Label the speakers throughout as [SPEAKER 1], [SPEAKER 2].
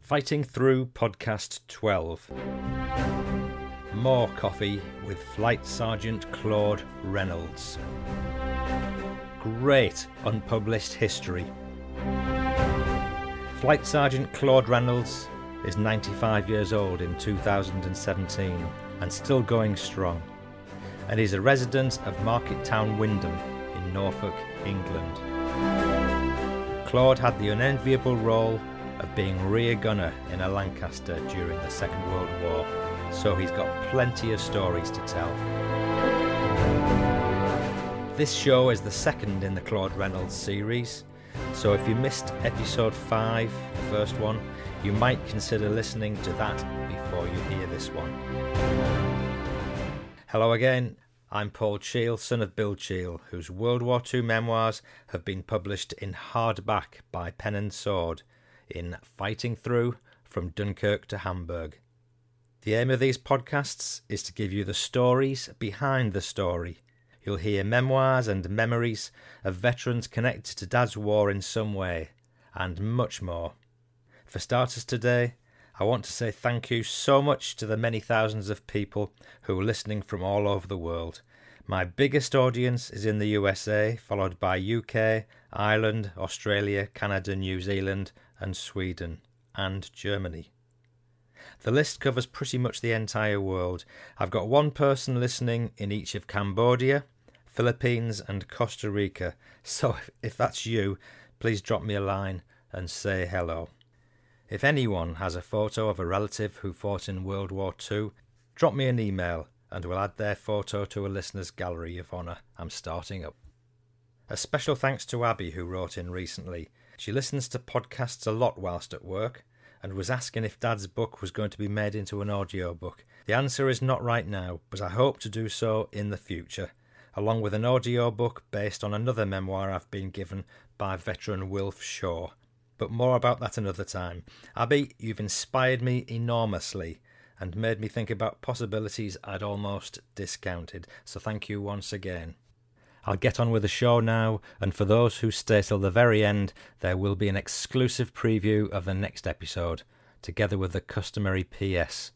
[SPEAKER 1] Fighting Through Podcast 12. More coffee with Flight Sergeant Claude Reynolds. Great unpublished history. Flight Sergeant Claude Reynolds is 95 years old in 2017 and still going strong, and is a resident of Market Town Wyndham in Norfolk, England. Claude had the unenviable role of being rear gunner in a Lancaster during the Second World War, so he's got plenty of stories to tell. This show is the second in the Claude Reynolds series, so if you missed episode 5, the first one, you might consider listening to that before you hear this one. Hello again, I'm Paul Cheel, son of Bill Cheel, whose World War II memoirs have been published in hardback by Pen and Sword in Fighting Through from Dunkirk to Hamburg. The aim of these podcasts is to give you the stories behind the story. You'll hear memoirs and memories of veterans connected to Dad's war in some way, and much more. For starters today, I want to say thank you so much to the many thousands of people who are listening from all over the world. My biggest audience is in the USA, followed by UK, Ireland, Australia, Canada, New Zealand, and Sweden, and Germany. The list covers pretty much the entire world. I've got one person listening in each of Cambodia, Philippines, and Costa Rica. So if- if that's you, please drop me a line and say hello. If anyone has a photo of a relative who fought in World War II, drop me an email and we'll add their photo to a listener's gallery of honour I'm starting up. A special thanks to Abby who wrote in recently. She listens to podcasts a lot whilst at work and was asking if Dad's book was going to be made into an audiobook. The answer is not right now, but I hope to do so in the future, along with an audiobook based on another memoir I've been given by veteran Wilf Shaw. But more about that another time. Abby, you've inspired me enormously and made me think about possibilities I'd almost discounted, so thank you once again. I'll get on with the show now, and for those who stay till the very end, there will be an exclusive preview of the next episode, together with the customary PS.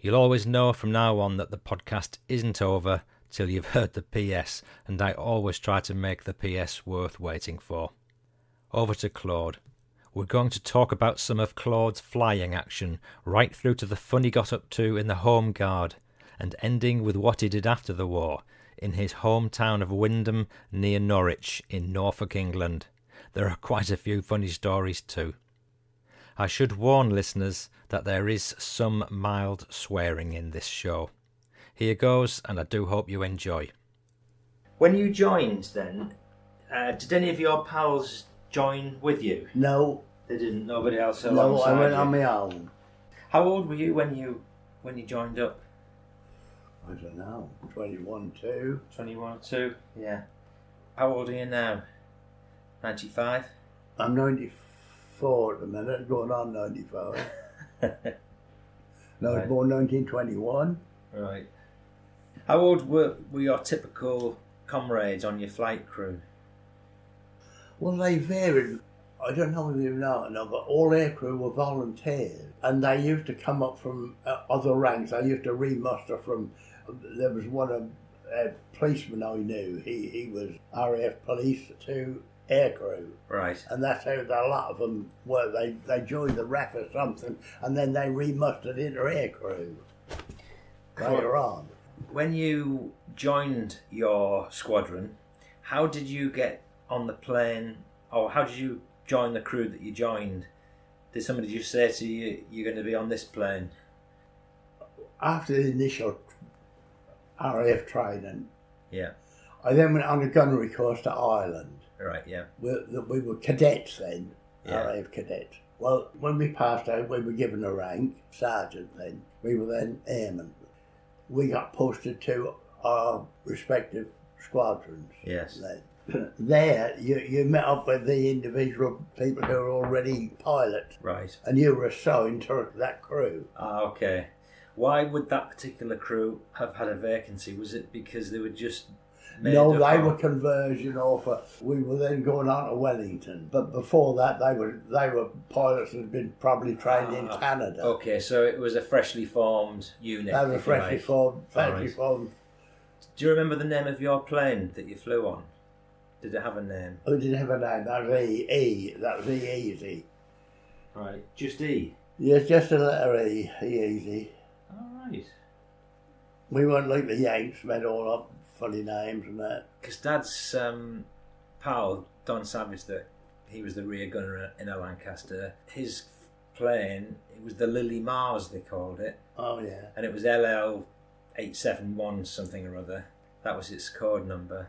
[SPEAKER 1] You'll always know from now on that the podcast isn't over till you've heard the PS, and I always try to make the PS worth waiting for. Over to Claude. We're going to talk about some of Claude's flying action, right through to the fun he got up to in the Home Guard, and ending with what he did after the war in his hometown of Wyndham near Norwich in Norfolk, England. There are quite a few funny stories too. I should warn listeners that there is some mild swearing in this show. Here goes, and I do hope you enjoy.
[SPEAKER 2] When you joined, then, uh, did any of your pals join with you?
[SPEAKER 3] No,
[SPEAKER 2] They didn't. Nobody else
[SPEAKER 3] no,
[SPEAKER 2] alongside
[SPEAKER 3] I went
[SPEAKER 2] you.
[SPEAKER 3] on my own.
[SPEAKER 2] How old were you when you when you joined up?
[SPEAKER 3] I don't know, 21, 2.
[SPEAKER 2] Twenty-one or two. Yeah. How old are you now? Ninety-five.
[SPEAKER 3] I'm 94 at the minute, going on 95. no, I was
[SPEAKER 2] Right.
[SPEAKER 3] born 1921.
[SPEAKER 2] Right. How old were were your typical comrades on your flight crew?
[SPEAKER 3] Well, they varied. I don't know whether you know or not, but all air crew were volunteers, and they used to come up from uh, other ranks. They used to remuster from. There was one of a policeman I knew. He he was RAF police to air crew.
[SPEAKER 2] Right.
[SPEAKER 3] and that's how a lot of them were. They they joined the RAF or something, and then they remustered into air crew later on.
[SPEAKER 2] When you joined your squadron, how did you get on the plane, or how did you join the crew that you joined? Did somebody just say to you, "You're going to be on this plane"?
[SPEAKER 3] After the initial RAF training,
[SPEAKER 2] Yeah.
[SPEAKER 3] I then went on a gunnery course to Ireland.
[SPEAKER 2] Right. Yeah.
[SPEAKER 3] We, we were cadets then,
[SPEAKER 2] Yeah.
[SPEAKER 3] RAF cadets, Well, when we passed out, we were given a rank, sergeant then. We were then airmen. We got posted to our respective squadrons.
[SPEAKER 4] Yes.
[SPEAKER 3] Then. There, you, you met up with the individual people who were already pilots,
[SPEAKER 1] Right.
[SPEAKER 3] and you were assigned to that crew.
[SPEAKER 1] Ah, okay. Why would that particular crew have had a vacancy? Was it because they were just made
[SPEAKER 3] no,
[SPEAKER 1] up
[SPEAKER 3] they
[SPEAKER 1] of-
[SPEAKER 3] were conversion offer. We were then going on to Wellington, but before that, they were they were pilots that had been probably trained in
[SPEAKER 1] Ah,
[SPEAKER 3] Canada.
[SPEAKER 1] Okay, so it was a freshly formed unit.
[SPEAKER 3] They
[SPEAKER 1] if
[SPEAKER 3] were
[SPEAKER 1] you
[SPEAKER 3] freshly
[SPEAKER 1] like.
[SPEAKER 3] formed, freshly
[SPEAKER 1] Alright.
[SPEAKER 3] formed.
[SPEAKER 1] Do you remember the name of your plane that you flew on? Did it have a name?
[SPEAKER 3] Who didn't have a name? That was E. E. That was E. Easy.
[SPEAKER 1] Right, just E.
[SPEAKER 3] Yes, just a letter E. E. Easy.
[SPEAKER 1] All right.
[SPEAKER 3] We weren't like the Yanks, made all up funny names and that.
[SPEAKER 1] Because Dad's um, pal Don Savage, that he was the rear gunner in a Lancaster. His plane, it was the Lily Mars they called it,
[SPEAKER 3] Oh yeah.
[SPEAKER 1] and it was LL eight seven one something or other. That was its code number.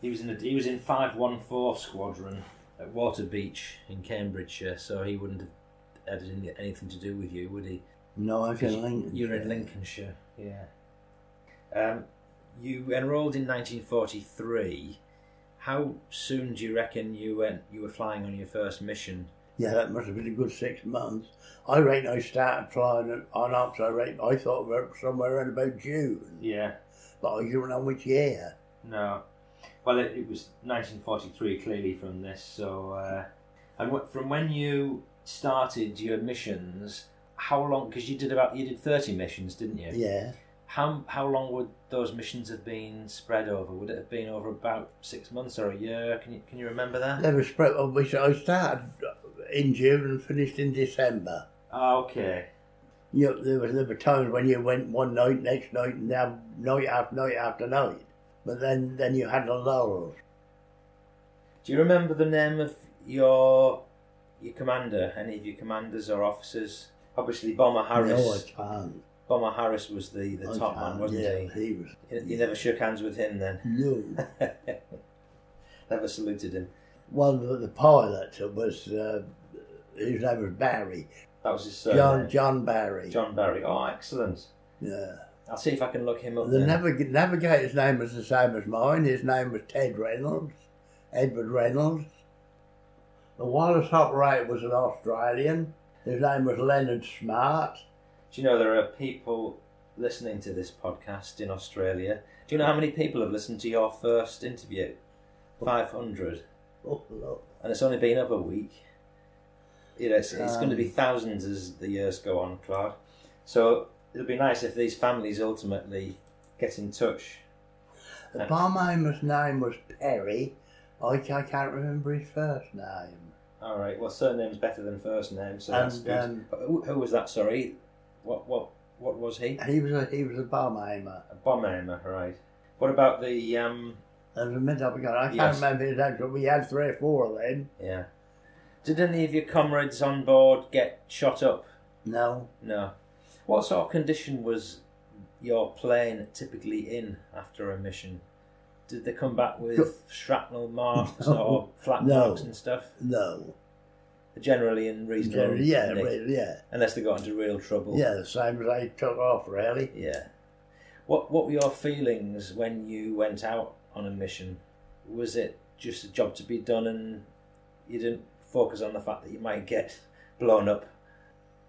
[SPEAKER 1] He was in a, he was in five one four squadron at Water Beach in Cambridgeshire, so he wouldn't have had any- anything to do with you, would he?
[SPEAKER 3] No, I was in Lincoln.
[SPEAKER 1] You're in Lincolnshire, yeah. Um, you enrolled in 1943. How soon do you reckon you went? You were flying on your first mission.
[SPEAKER 3] Yeah, that must have been a good six months. I reckon I started flying it on up. I reckon I thought about somewhere around about June,
[SPEAKER 5] Yeah,
[SPEAKER 3] but I don't know which year.
[SPEAKER 5] no. Well, it, it was 1943 clearly from this, so. Uh,
[SPEAKER 1] And what, from when you started your missions, how long? Because you did about you did 30 missions, didn't you?
[SPEAKER 3] Yeah,
[SPEAKER 1] How how long would those missions have been spread over? Would it have been over about six months or a year? Can you can you remember that?
[SPEAKER 3] never spread. well, we- I started in June and finished in December.
[SPEAKER 5] ah, okay.
[SPEAKER 3] You know, there was there were times when you went one night, next night, and now night after night after night. But then then you had a lull.
[SPEAKER 1] Do you remember the name of your your commander? Any of your commanders or officers? Obviously, Bomber
[SPEAKER 3] No, I
[SPEAKER 1] Harris.
[SPEAKER 3] can't.
[SPEAKER 1] Bomber Harris was the, the
[SPEAKER 3] I
[SPEAKER 1] top
[SPEAKER 3] can't.
[SPEAKER 1] man, wasn't
[SPEAKER 3] yeah,
[SPEAKER 1] he?
[SPEAKER 3] he was.
[SPEAKER 1] You, you never shook hands with him then.
[SPEAKER 3] No.
[SPEAKER 1] never saluted him.
[SPEAKER 3] One of the pilots was uh, his name was Barry.
[SPEAKER 1] That was his
[SPEAKER 3] John
[SPEAKER 1] surname.
[SPEAKER 3] John Barry.
[SPEAKER 1] John Barry. Oh, excellent.
[SPEAKER 3] Yeah.
[SPEAKER 1] I'll see if I can look him up.
[SPEAKER 3] The
[SPEAKER 1] then.
[SPEAKER 3] navig- navigator's name was the same as mine. His name was Ted Reynolds, Edward Reynolds. The wireless operator was an Australian. His name was Leonard Smart.
[SPEAKER 1] Do you know there are people listening to this podcast in Australia? Do you know how many people have listened to your first interview? 500.
[SPEAKER 3] Oh, look.
[SPEAKER 1] and it's only been up a week. You know, it's, it's going to
[SPEAKER 3] Um,
[SPEAKER 1] be thousands as the years go on, Claude. So it'll be nice if these families ultimately get in touch.
[SPEAKER 3] The barman's name was Perry. I, ca- I can't remember his first name.
[SPEAKER 1] All right. Well, surname's better than first name, so that's
[SPEAKER 3] And,
[SPEAKER 1] good.
[SPEAKER 3] um,
[SPEAKER 1] who, who was that? Sorry, what what what was he?
[SPEAKER 3] He was a he was a barmaimer.
[SPEAKER 1] A bomb aimer, right? What about the um?
[SPEAKER 3] There was a mid up I can't
[SPEAKER 1] Yes.
[SPEAKER 3] remember his name, but we had three or four of them.
[SPEAKER 1] Yeah. Did any of your comrades on board get shot up?
[SPEAKER 3] No.
[SPEAKER 1] No. What sort of condition was your plane typically in after a mission? Did they come back with shrapnel marks
[SPEAKER 3] No.
[SPEAKER 1] or flat
[SPEAKER 3] No.
[SPEAKER 1] marks and stuff?
[SPEAKER 3] No.
[SPEAKER 1] Generally in reasonable
[SPEAKER 3] yeah,
[SPEAKER 1] nick,
[SPEAKER 3] really, yeah.
[SPEAKER 1] unless they got into real trouble.
[SPEAKER 3] Yeah, the same as I took off, really.
[SPEAKER 1] Yeah. What What were your feelings when you went out on a mission? Was it just a job to be done, and you didn't focus on the fact that you might get blown up?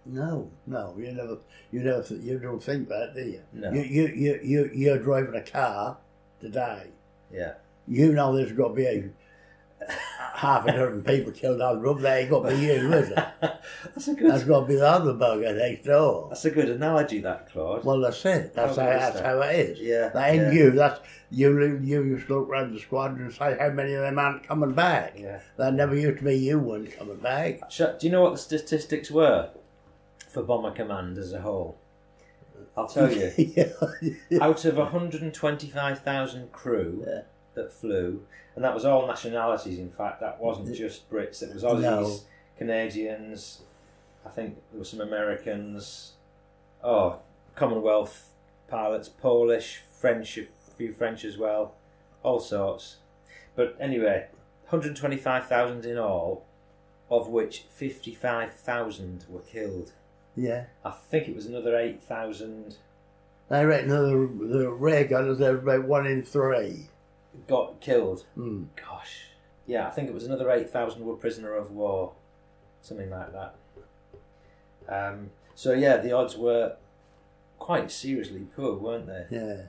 [SPEAKER 3] No, no, you never, you never, th- you don't think that, do you?
[SPEAKER 1] No.
[SPEAKER 3] You, you, you, you, you're driving a car today.
[SPEAKER 1] Yeah.
[SPEAKER 3] You know there's got to be a, half a dozen people killed on the road. There ain't got to be you, is it?
[SPEAKER 1] that's a good.
[SPEAKER 3] That's got to be the other bugger next door.
[SPEAKER 1] That's a good analogy, that Claude.
[SPEAKER 3] Well, that's it. That's
[SPEAKER 1] How
[SPEAKER 3] how,
[SPEAKER 1] good is
[SPEAKER 3] that's
[SPEAKER 1] that?
[SPEAKER 3] how it is.
[SPEAKER 1] Yeah,
[SPEAKER 3] That ain't
[SPEAKER 1] yeah.
[SPEAKER 3] you. That's you. You used to look round the squadron and say how many of them aren't coming back.
[SPEAKER 1] Yeah.
[SPEAKER 3] That never used to be you weren't coming back.
[SPEAKER 1] Sh- Do you know what the statistics were for Bomber Command as a whole? I'll tell you.
[SPEAKER 3] yeah.
[SPEAKER 1] Out of 125,000 crew
[SPEAKER 3] Yeah.
[SPEAKER 1] that flew, and that was all nationalities, in fact, that wasn't just Brits, it was Aussies,
[SPEAKER 3] No.
[SPEAKER 1] Canadians, I think there were some Americans, oh, Commonwealth pilots, Polish, French, a few French as well, all sorts. But anyway, 125,000 in all, of which 55,000 were killed.
[SPEAKER 3] Yeah.
[SPEAKER 1] I think it was another 8,000
[SPEAKER 3] They reckon the, the rare gunners, they're about one in three.
[SPEAKER 1] got killed.
[SPEAKER 3] Mm.
[SPEAKER 1] Gosh. Yeah, I think it was another 8,000 were prisoner of war. Something like that. Um, so, yeah, the odds were quite seriously poor, weren't they?
[SPEAKER 3] Yeah.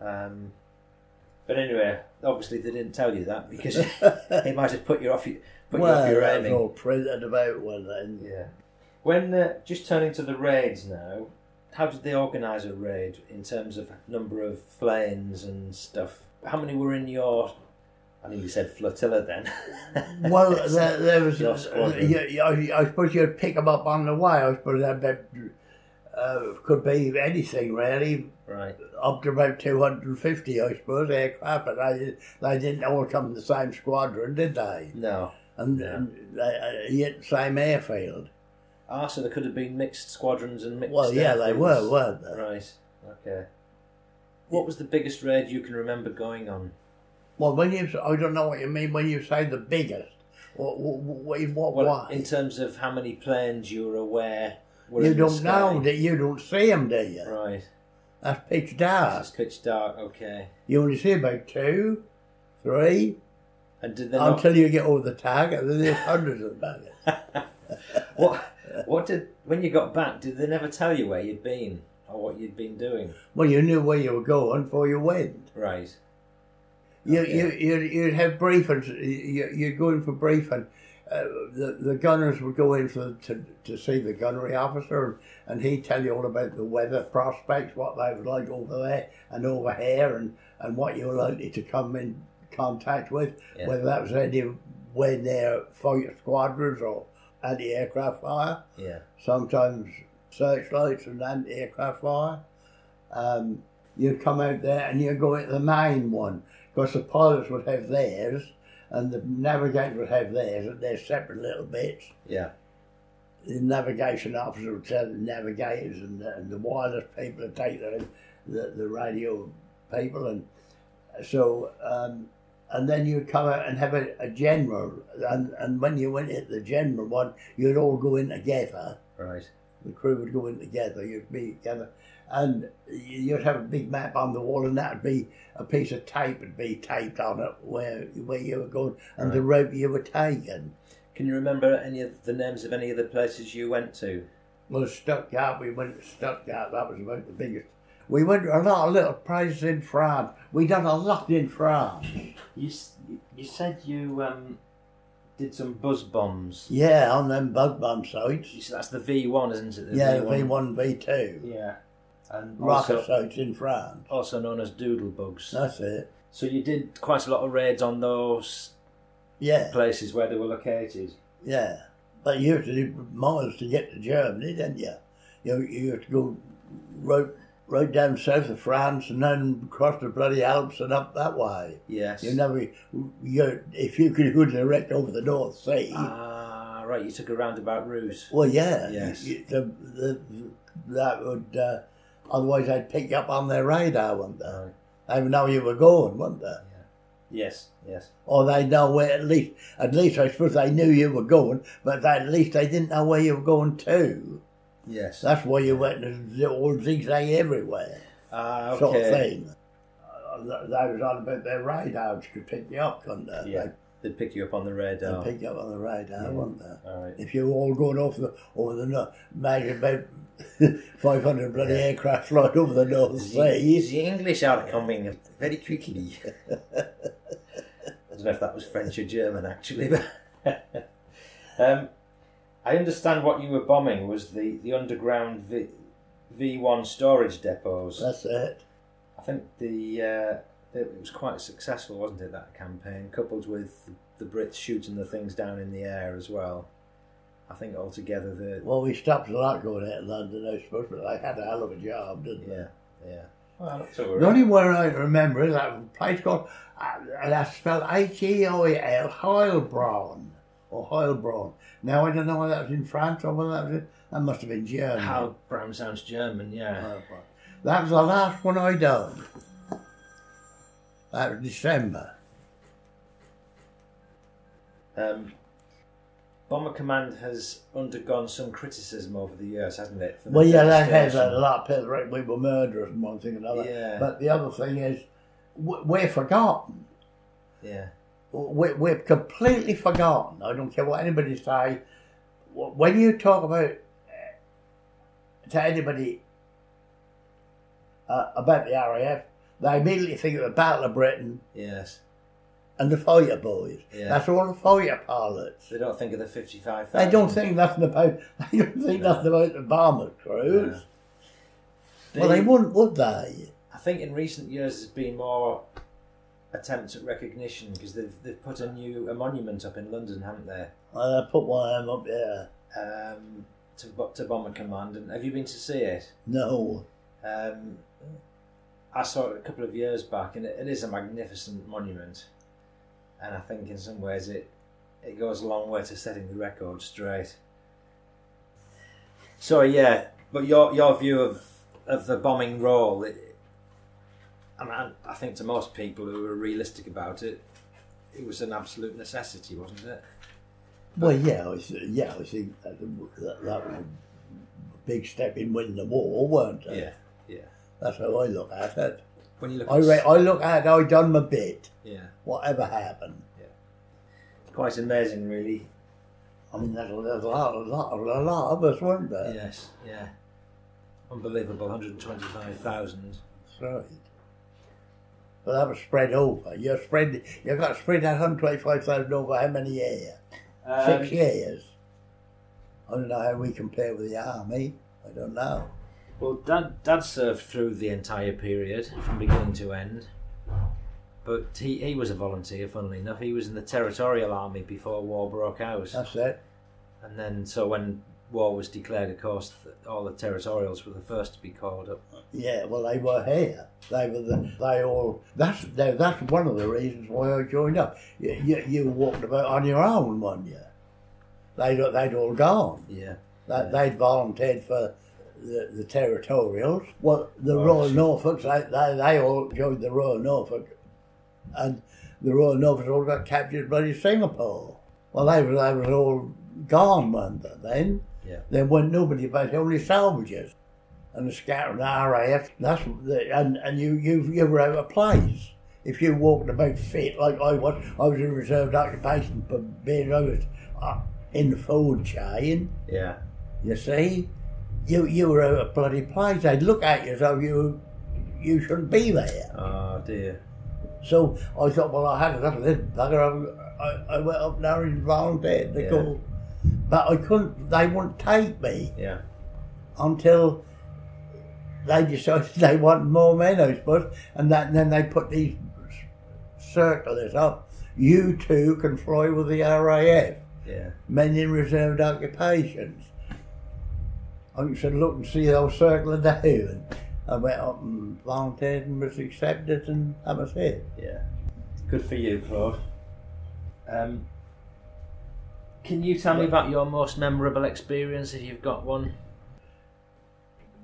[SPEAKER 1] Um, but anyway, obviously they didn't tell you that because it might have put you off your, put you
[SPEAKER 3] well,
[SPEAKER 1] off your
[SPEAKER 3] that was
[SPEAKER 1] aiming.
[SPEAKER 3] all printed about one then.
[SPEAKER 1] Yeah. When uh, just turning to the raids now, how did they organise a raid in terms of number of planes and stuff? How many were in your? I think you said flotilla then.
[SPEAKER 3] Well, there, there was.
[SPEAKER 1] Your
[SPEAKER 3] Uh,
[SPEAKER 1] squadron.
[SPEAKER 3] you, you, I suppose you'd pick them up on the way. I suppose that meant, uh, could be anything really,
[SPEAKER 1] right.
[SPEAKER 3] up to about 250, I suppose, aircraft. But they, they didn't all come in the same squadron, did they?
[SPEAKER 1] No.
[SPEAKER 3] And,
[SPEAKER 1] Yeah.
[SPEAKER 3] and they, uh, yet the same airfield.
[SPEAKER 1] Ah, so there could have been mixed squadrons and mixed.
[SPEAKER 3] Well, yeah, they
[SPEAKER 1] airfields.
[SPEAKER 3] were, weren't they?
[SPEAKER 1] Right. Okay. What was the biggest raid you can remember going on?
[SPEAKER 3] Well, when you, I don't know what you mean when you say the biggest. What, what, in what
[SPEAKER 1] Well,
[SPEAKER 3] way?
[SPEAKER 1] in terms of how many planes you were aware were in
[SPEAKER 3] you
[SPEAKER 1] the
[SPEAKER 3] don't
[SPEAKER 1] sky.
[SPEAKER 3] know that you don't see them, do you?
[SPEAKER 1] Right.
[SPEAKER 3] That's pitch dark.
[SPEAKER 1] It's pitch dark. Okay.
[SPEAKER 3] You only see about two, three,
[SPEAKER 1] And did they not
[SPEAKER 3] until you get over the target. Then there's hundreds of them.
[SPEAKER 1] What what did when you got back? Did they never tell you where you'd been or what you'd been doing?
[SPEAKER 3] Well, you knew where you were going before you went.
[SPEAKER 1] Right.
[SPEAKER 3] You,
[SPEAKER 1] Okay.
[SPEAKER 3] you, you'd, you'd have briefings. You, you'd go in for briefing. Uh, the, the gunners would go in for, to, to see the gunnery officer and, and he'd tell you all about the weather prospects, what they was like over there and over here and, and what you were likely to come in contact with,
[SPEAKER 1] Yeah.
[SPEAKER 3] whether that was any when they're fighter squadrons or anti-aircraft fire.
[SPEAKER 1] Yeah.
[SPEAKER 3] sometimes searchlights and anti-aircraft fire. Um, you come out there and you go into the main one because the pilots would have theirs and the navigators would have theirs at their separate little bits.
[SPEAKER 1] Yeah.
[SPEAKER 3] The navigation officer would tell the navigators and the, and the wireless people would take the, the, the radio people and so um, and then you'd come out and have a, a general and, and when you went into the general one you'd all go in together
[SPEAKER 1] Right.
[SPEAKER 3] the crew would go in together, you'd be together, and you'd have a big map on the wall, and that'd be a piece of tape would be taped on it where where you were going and the route you were taking.
[SPEAKER 1] Can you remember any of the names of any of the places you went to?
[SPEAKER 3] Well, Stuttgart, we went to Stuttgart, that was about the biggest. We went to a lot of little places in France. We done a lot in France.
[SPEAKER 6] You s- you said you um, did some buzz bombs.
[SPEAKER 3] Yeah, on them bug bomb sites.
[SPEAKER 1] You said that's the V one, isn't it? The
[SPEAKER 3] Yeah, V1, V2.
[SPEAKER 6] Yeah. And
[SPEAKER 3] Rocket
[SPEAKER 6] also,
[SPEAKER 3] sites in France.
[SPEAKER 1] also known as doodlebugs.
[SPEAKER 3] That's it.
[SPEAKER 1] So you did quite a lot of raids on those
[SPEAKER 3] Yeah,
[SPEAKER 1] places where
[SPEAKER 6] where they were located.
[SPEAKER 3] Yeah, but you used to do miles to get to Germany, didn't you? You, you used to go right, right down south of France and then across the bloody Alps and up that way.
[SPEAKER 1] Yes.
[SPEAKER 3] You never, you, if you could go direct over the North Sea,
[SPEAKER 1] Ah right, you took a roundabout route.
[SPEAKER 3] well, yeah,
[SPEAKER 1] Yes.
[SPEAKER 3] you- the, the, that would. Uh, otherwise, they'd pick you up on their radar, wouldn't they?
[SPEAKER 1] Right.
[SPEAKER 3] They would know you were going, wouldn't they?
[SPEAKER 6] Yes. Yes.
[SPEAKER 3] Or they would know where at least, at least I suppose they knew you were going, but they, at least they didn't know where you were going to.
[SPEAKER 1] Yes.
[SPEAKER 3] That's why you went and did all zigzag everywhere,
[SPEAKER 1] Ah, okay.
[SPEAKER 3] sort of thing. Uh, th- They was on about their radar, which could pick you up, couldn't they?
[SPEAKER 1] Yeah. They'd pick you up on the
[SPEAKER 3] They
[SPEAKER 1] radar.
[SPEAKER 3] would pick you up on the radar,
[SPEAKER 1] Yeah.
[SPEAKER 3] wouldn't they?
[SPEAKER 1] All right.
[SPEAKER 3] If you were all going off the over the north, imagine about 500 bloody aircraft flying over the North
[SPEAKER 1] The,
[SPEAKER 3] Sea.
[SPEAKER 1] the English are coming very quickly. I don't know if that was French or German, actually. But
[SPEAKER 6] Um, I understand what you were bombing was the, the underground v, V1 storage depots.
[SPEAKER 3] That's it.
[SPEAKER 1] I think the uh, it was quite successful, wasn't it? That campaign, coupled with the Brits shooting the things down in the air as well. I think altogether the
[SPEAKER 3] Well, we stopped a lot going out of London, I suppose, but they had a hell of a job, didn't they?
[SPEAKER 1] yeah yeah
[SPEAKER 6] Well,
[SPEAKER 3] The only one I remember is that place called, uh, that's spelled H E O E L, Heilbronn, or Heilbronn. Now, I don't know whether that was in France or whether that was in, that must have been Germany.
[SPEAKER 1] how Brown sounds German, yeah.
[SPEAKER 3] Heilbronn. That was the last one I done. That was December.
[SPEAKER 1] Um, Bomber Command has undergone some criticism over the years, hasn't it? for the
[SPEAKER 3] Well, yeah, they had
[SPEAKER 1] devastation?
[SPEAKER 3] a lot of people, right, we were murderers and one thing and another.
[SPEAKER 1] Yeah.
[SPEAKER 3] But the other thing is, w- we're forgotten.
[SPEAKER 1] Yeah,
[SPEAKER 3] We're, we're completely forgotten. I don't care what anybody say. Wh- When you talk about uh, to anybody uh, about the RAF, they immediately think of the Battle of Britain
[SPEAKER 1] yes.
[SPEAKER 3] and the Fire Boys.
[SPEAKER 1] Yeah.
[SPEAKER 3] That's all the Fire pilots.
[SPEAKER 1] They don't think of the 55.
[SPEAKER 3] They don't think nothing about. They don't think
[SPEAKER 1] No.
[SPEAKER 3] nothing about the bomber crews.
[SPEAKER 1] The-
[SPEAKER 3] Well, they wouldn't, would they?
[SPEAKER 1] I think in recent years there's been more attempts at recognition because they've, they've put a new a monument up in London, haven't they?
[SPEAKER 3] Uh, put one of them up there.
[SPEAKER 1] Um, to, Bo- to Bomber Command. And have you been to see it?
[SPEAKER 3] No.
[SPEAKER 1] Um, I saw it a couple of years back, and it, it is a magnificent monument. And I think in some ways it it goes a long way to setting the record straight. So yeah, but your your view of of the bombing role, it, I mean, I- I think to most people who are realistic about it, it was an absolute necessity, wasn't it?
[SPEAKER 3] Well, yeah, I see, yeah, I think that, that, that was a big step in winning the war, weren't it?
[SPEAKER 1] yeah.
[SPEAKER 3] That's how I look at it.
[SPEAKER 1] When you look,
[SPEAKER 3] I,
[SPEAKER 1] at,
[SPEAKER 3] re- I look at it, I done my bit,
[SPEAKER 1] yeah,
[SPEAKER 3] whatever happened.
[SPEAKER 1] quite amazing, really.
[SPEAKER 3] I mean, there's, there's a, lot, a, lot, a lot of us, weren't there?
[SPEAKER 1] Yes, yeah. Unbelievable, 125,000.
[SPEAKER 3] That's right. But that was spread over. You're spread, you got spread that 125,000 over how many years?
[SPEAKER 1] Um,
[SPEAKER 3] Six years. I don't know how we compare with the army. I don't know.
[SPEAKER 1] Well, Dad, Dad served through the entire period, from beginning to end. But he, he was a volunteer, funnily enough. He was in the Territorial Army before war broke out.
[SPEAKER 3] That's it.
[SPEAKER 1] And then, so when war was declared, of course, th- all the Territorials were the first to be called up.
[SPEAKER 3] Yeah, well, they were here. They were the, they all. That's now, that's one of the reasons why I joined up. You, you, you walked about on your own, weren't you? They'd, they'd all gone.
[SPEAKER 1] Yeah.
[SPEAKER 3] They, They'd volunteered for the, the territorials. Well, the
[SPEAKER 1] Right.
[SPEAKER 3] Royal Norfolks, they, they, they all joined the Royal Norfolk. And the Royal Norfolks all got captured bloody Singapore. Well, they were, they were all gone, weren't they, then?
[SPEAKER 1] Yeah.
[SPEAKER 3] There wasn't nobody but only salvagers. And the scattering RAF, that's the, and, and you, you, you were out of place. If you walked about fit like I was, I was in reserved occupation for being I was uh, in the food chain.
[SPEAKER 1] Yeah.
[SPEAKER 3] You see, you you were out of bloody place. They'd look at you as though you you shouldn't be there.
[SPEAKER 1] Oh, dear.
[SPEAKER 3] So I thought, well, I had enough of this bugger. I, I, I went up there and volunteered to
[SPEAKER 1] Yeah.
[SPEAKER 3] go, but I couldn't. They wouldn't take me
[SPEAKER 1] Yeah.
[SPEAKER 3] until they decided they wanted more men, I suppose. And, that, and then they put these circulars up. You too can fly with the RAF
[SPEAKER 1] Yeah.
[SPEAKER 3] men in reserved occupations. I said, look and see those circling down. I went up and volunteered and was accepted, and that was it.
[SPEAKER 1] Yeah. Good for you, Claude. Um, can you tell me about your most memorable experience if you've got one?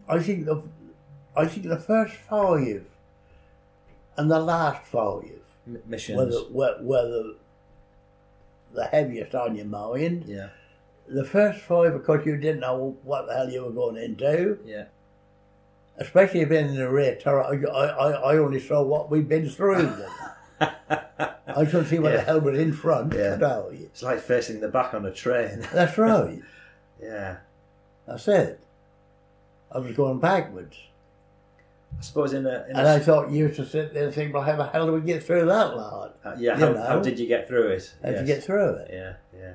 [SPEAKER 3] I think the, I think the first five and the last five
[SPEAKER 1] M-
[SPEAKER 3] were
[SPEAKER 1] missions.
[SPEAKER 3] the, were, were the, the heaviest on your mind.
[SPEAKER 1] Yeah.
[SPEAKER 3] The first five, of course, you didn't know what the hell you were going into,
[SPEAKER 1] Yeah.
[SPEAKER 3] especially being in the rear turret. I, I, I- I only saw what we'd been through. I couldn't see what
[SPEAKER 1] Yeah.
[SPEAKER 3] the hell was in front.
[SPEAKER 1] Yeah.
[SPEAKER 3] could I?
[SPEAKER 1] it's like facing the back on a train.
[SPEAKER 3] That's right.
[SPEAKER 1] yeah.
[SPEAKER 3] That's it. I was going backwards.
[SPEAKER 1] I suppose in a. In a
[SPEAKER 3] And I thought you used to sit there and think, well, how the hell do we get through that lot?
[SPEAKER 1] uh, yeah.
[SPEAKER 3] you
[SPEAKER 1] How,
[SPEAKER 3] know.
[SPEAKER 1] how did you get through it?
[SPEAKER 3] How would you
[SPEAKER 1] Yes.
[SPEAKER 3] get through it?
[SPEAKER 1] Yeah. Yeah.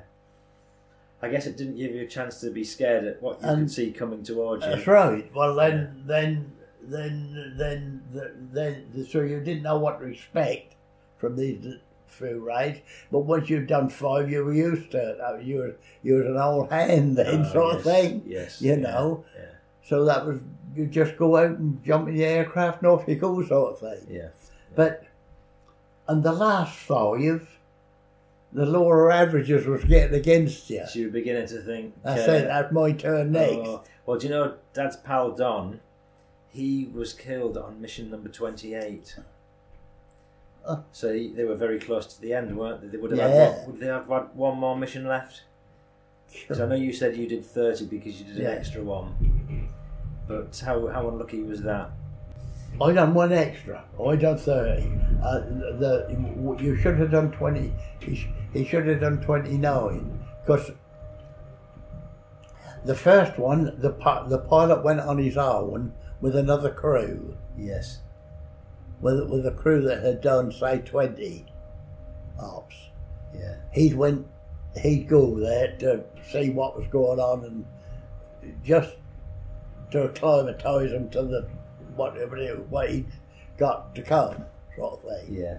[SPEAKER 1] I guess it didn't give you a chance to be scared at what you
[SPEAKER 3] And-
[SPEAKER 1] could see coming towards you.
[SPEAKER 3] That's right. Well, then, then, then, then, then, then, so you didn't know what to expect from these uh, few raids. But once you've done five, you were used to it. Uh, You were, you was an old hand then,
[SPEAKER 1] Oh,
[SPEAKER 3] sort of
[SPEAKER 1] yes,
[SPEAKER 3] thing.
[SPEAKER 1] Yes.
[SPEAKER 3] you
[SPEAKER 1] yeah,
[SPEAKER 3] know.
[SPEAKER 1] Yeah.
[SPEAKER 3] So that was, you just go out and jump in the aircraft and off you go, sort of thing.
[SPEAKER 1] Yeah.
[SPEAKER 3] But and the last five, the lower averages was getting against you.
[SPEAKER 1] So you're beginning to think.
[SPEAKER 3] I
[SPEAKER 1] uh,
[SPEAKER 3] said that's my turn next.
[SPEAKER 1] Oh, well, do you know Dad's pal Don? He was killed on mission number twenty-eight.
[SPEAKER 3] Oh.
[SPEAKER 1] So he, they were very close to the end, weren't they? They would have
[SPEAKER 3] Yeah.
[SPEAKER 1] had one, would they have had one more mission left? 'Cause I know you said you did 30 because you did an
[SPEAKER 3] Yeah.
[SPEAKER 1] extra one. But how, how unlucky was that?
[SPEAKER 3] I done one extra. I done thirty. Uh, the you should have done twenty. He, sh- he should have done twenty nine because the first one, the pi- the pilot went on his own with another crew,
[SPEAKER 1] Yes.
[SPEAKER 3] with with a crew that had done say twenty ops.
[SPEAKER 1] Yeah.
[SPEAKER 3] He went, he'd go there to see what was going on and just to acclimatise him to the whatever it was, what he got to come, sort of thing.
[SPEAKER 1] Yeah.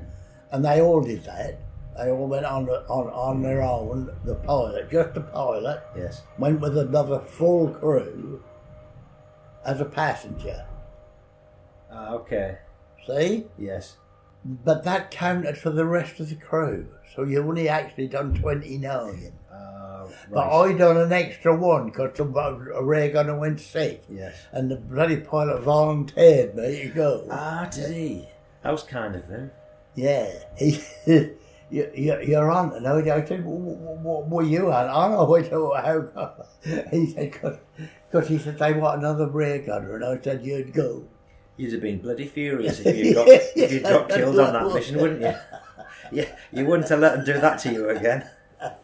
[SPEAKER 3] And they all did that. They all went on on on their own. The pilot, just the pilot,
[SPEAKER 1] Yes.
[SPEAKER 3] went with another full crew as a passenger.
[SPEAKER 1] Ah, okay.
[SPEAKER 3] See,
[SPEAKER 1] Yes.
[SPEAKER 3] but that counted for the rest of the crew. So you only actually done twenty nine.
[SPEAKER 1] Uh, right.
[SPEAKER 3] But I done an extra one because a rare gunner went sick,
[SPEAKER 1] Yes.
[SPEAKER 3] and the bloody pilot volunteered me to go.
[SPEAKER 1] Ah, did he? That was kind of him.
[SPEAKER 3] yeah, he, you, you, you're on. And I said, what were you on? I don't know. I said, well, how come? He said, because he said they want another rare gunner, and I said you'd go.
[SPEAKER 1] You'd have been bloody furious if you got if you got
[SPEAKER 3] Yeah.
[SPEAKER 1] killed on that mission, wouldn't you? Yeah, you wouldn't have let them do that to you again.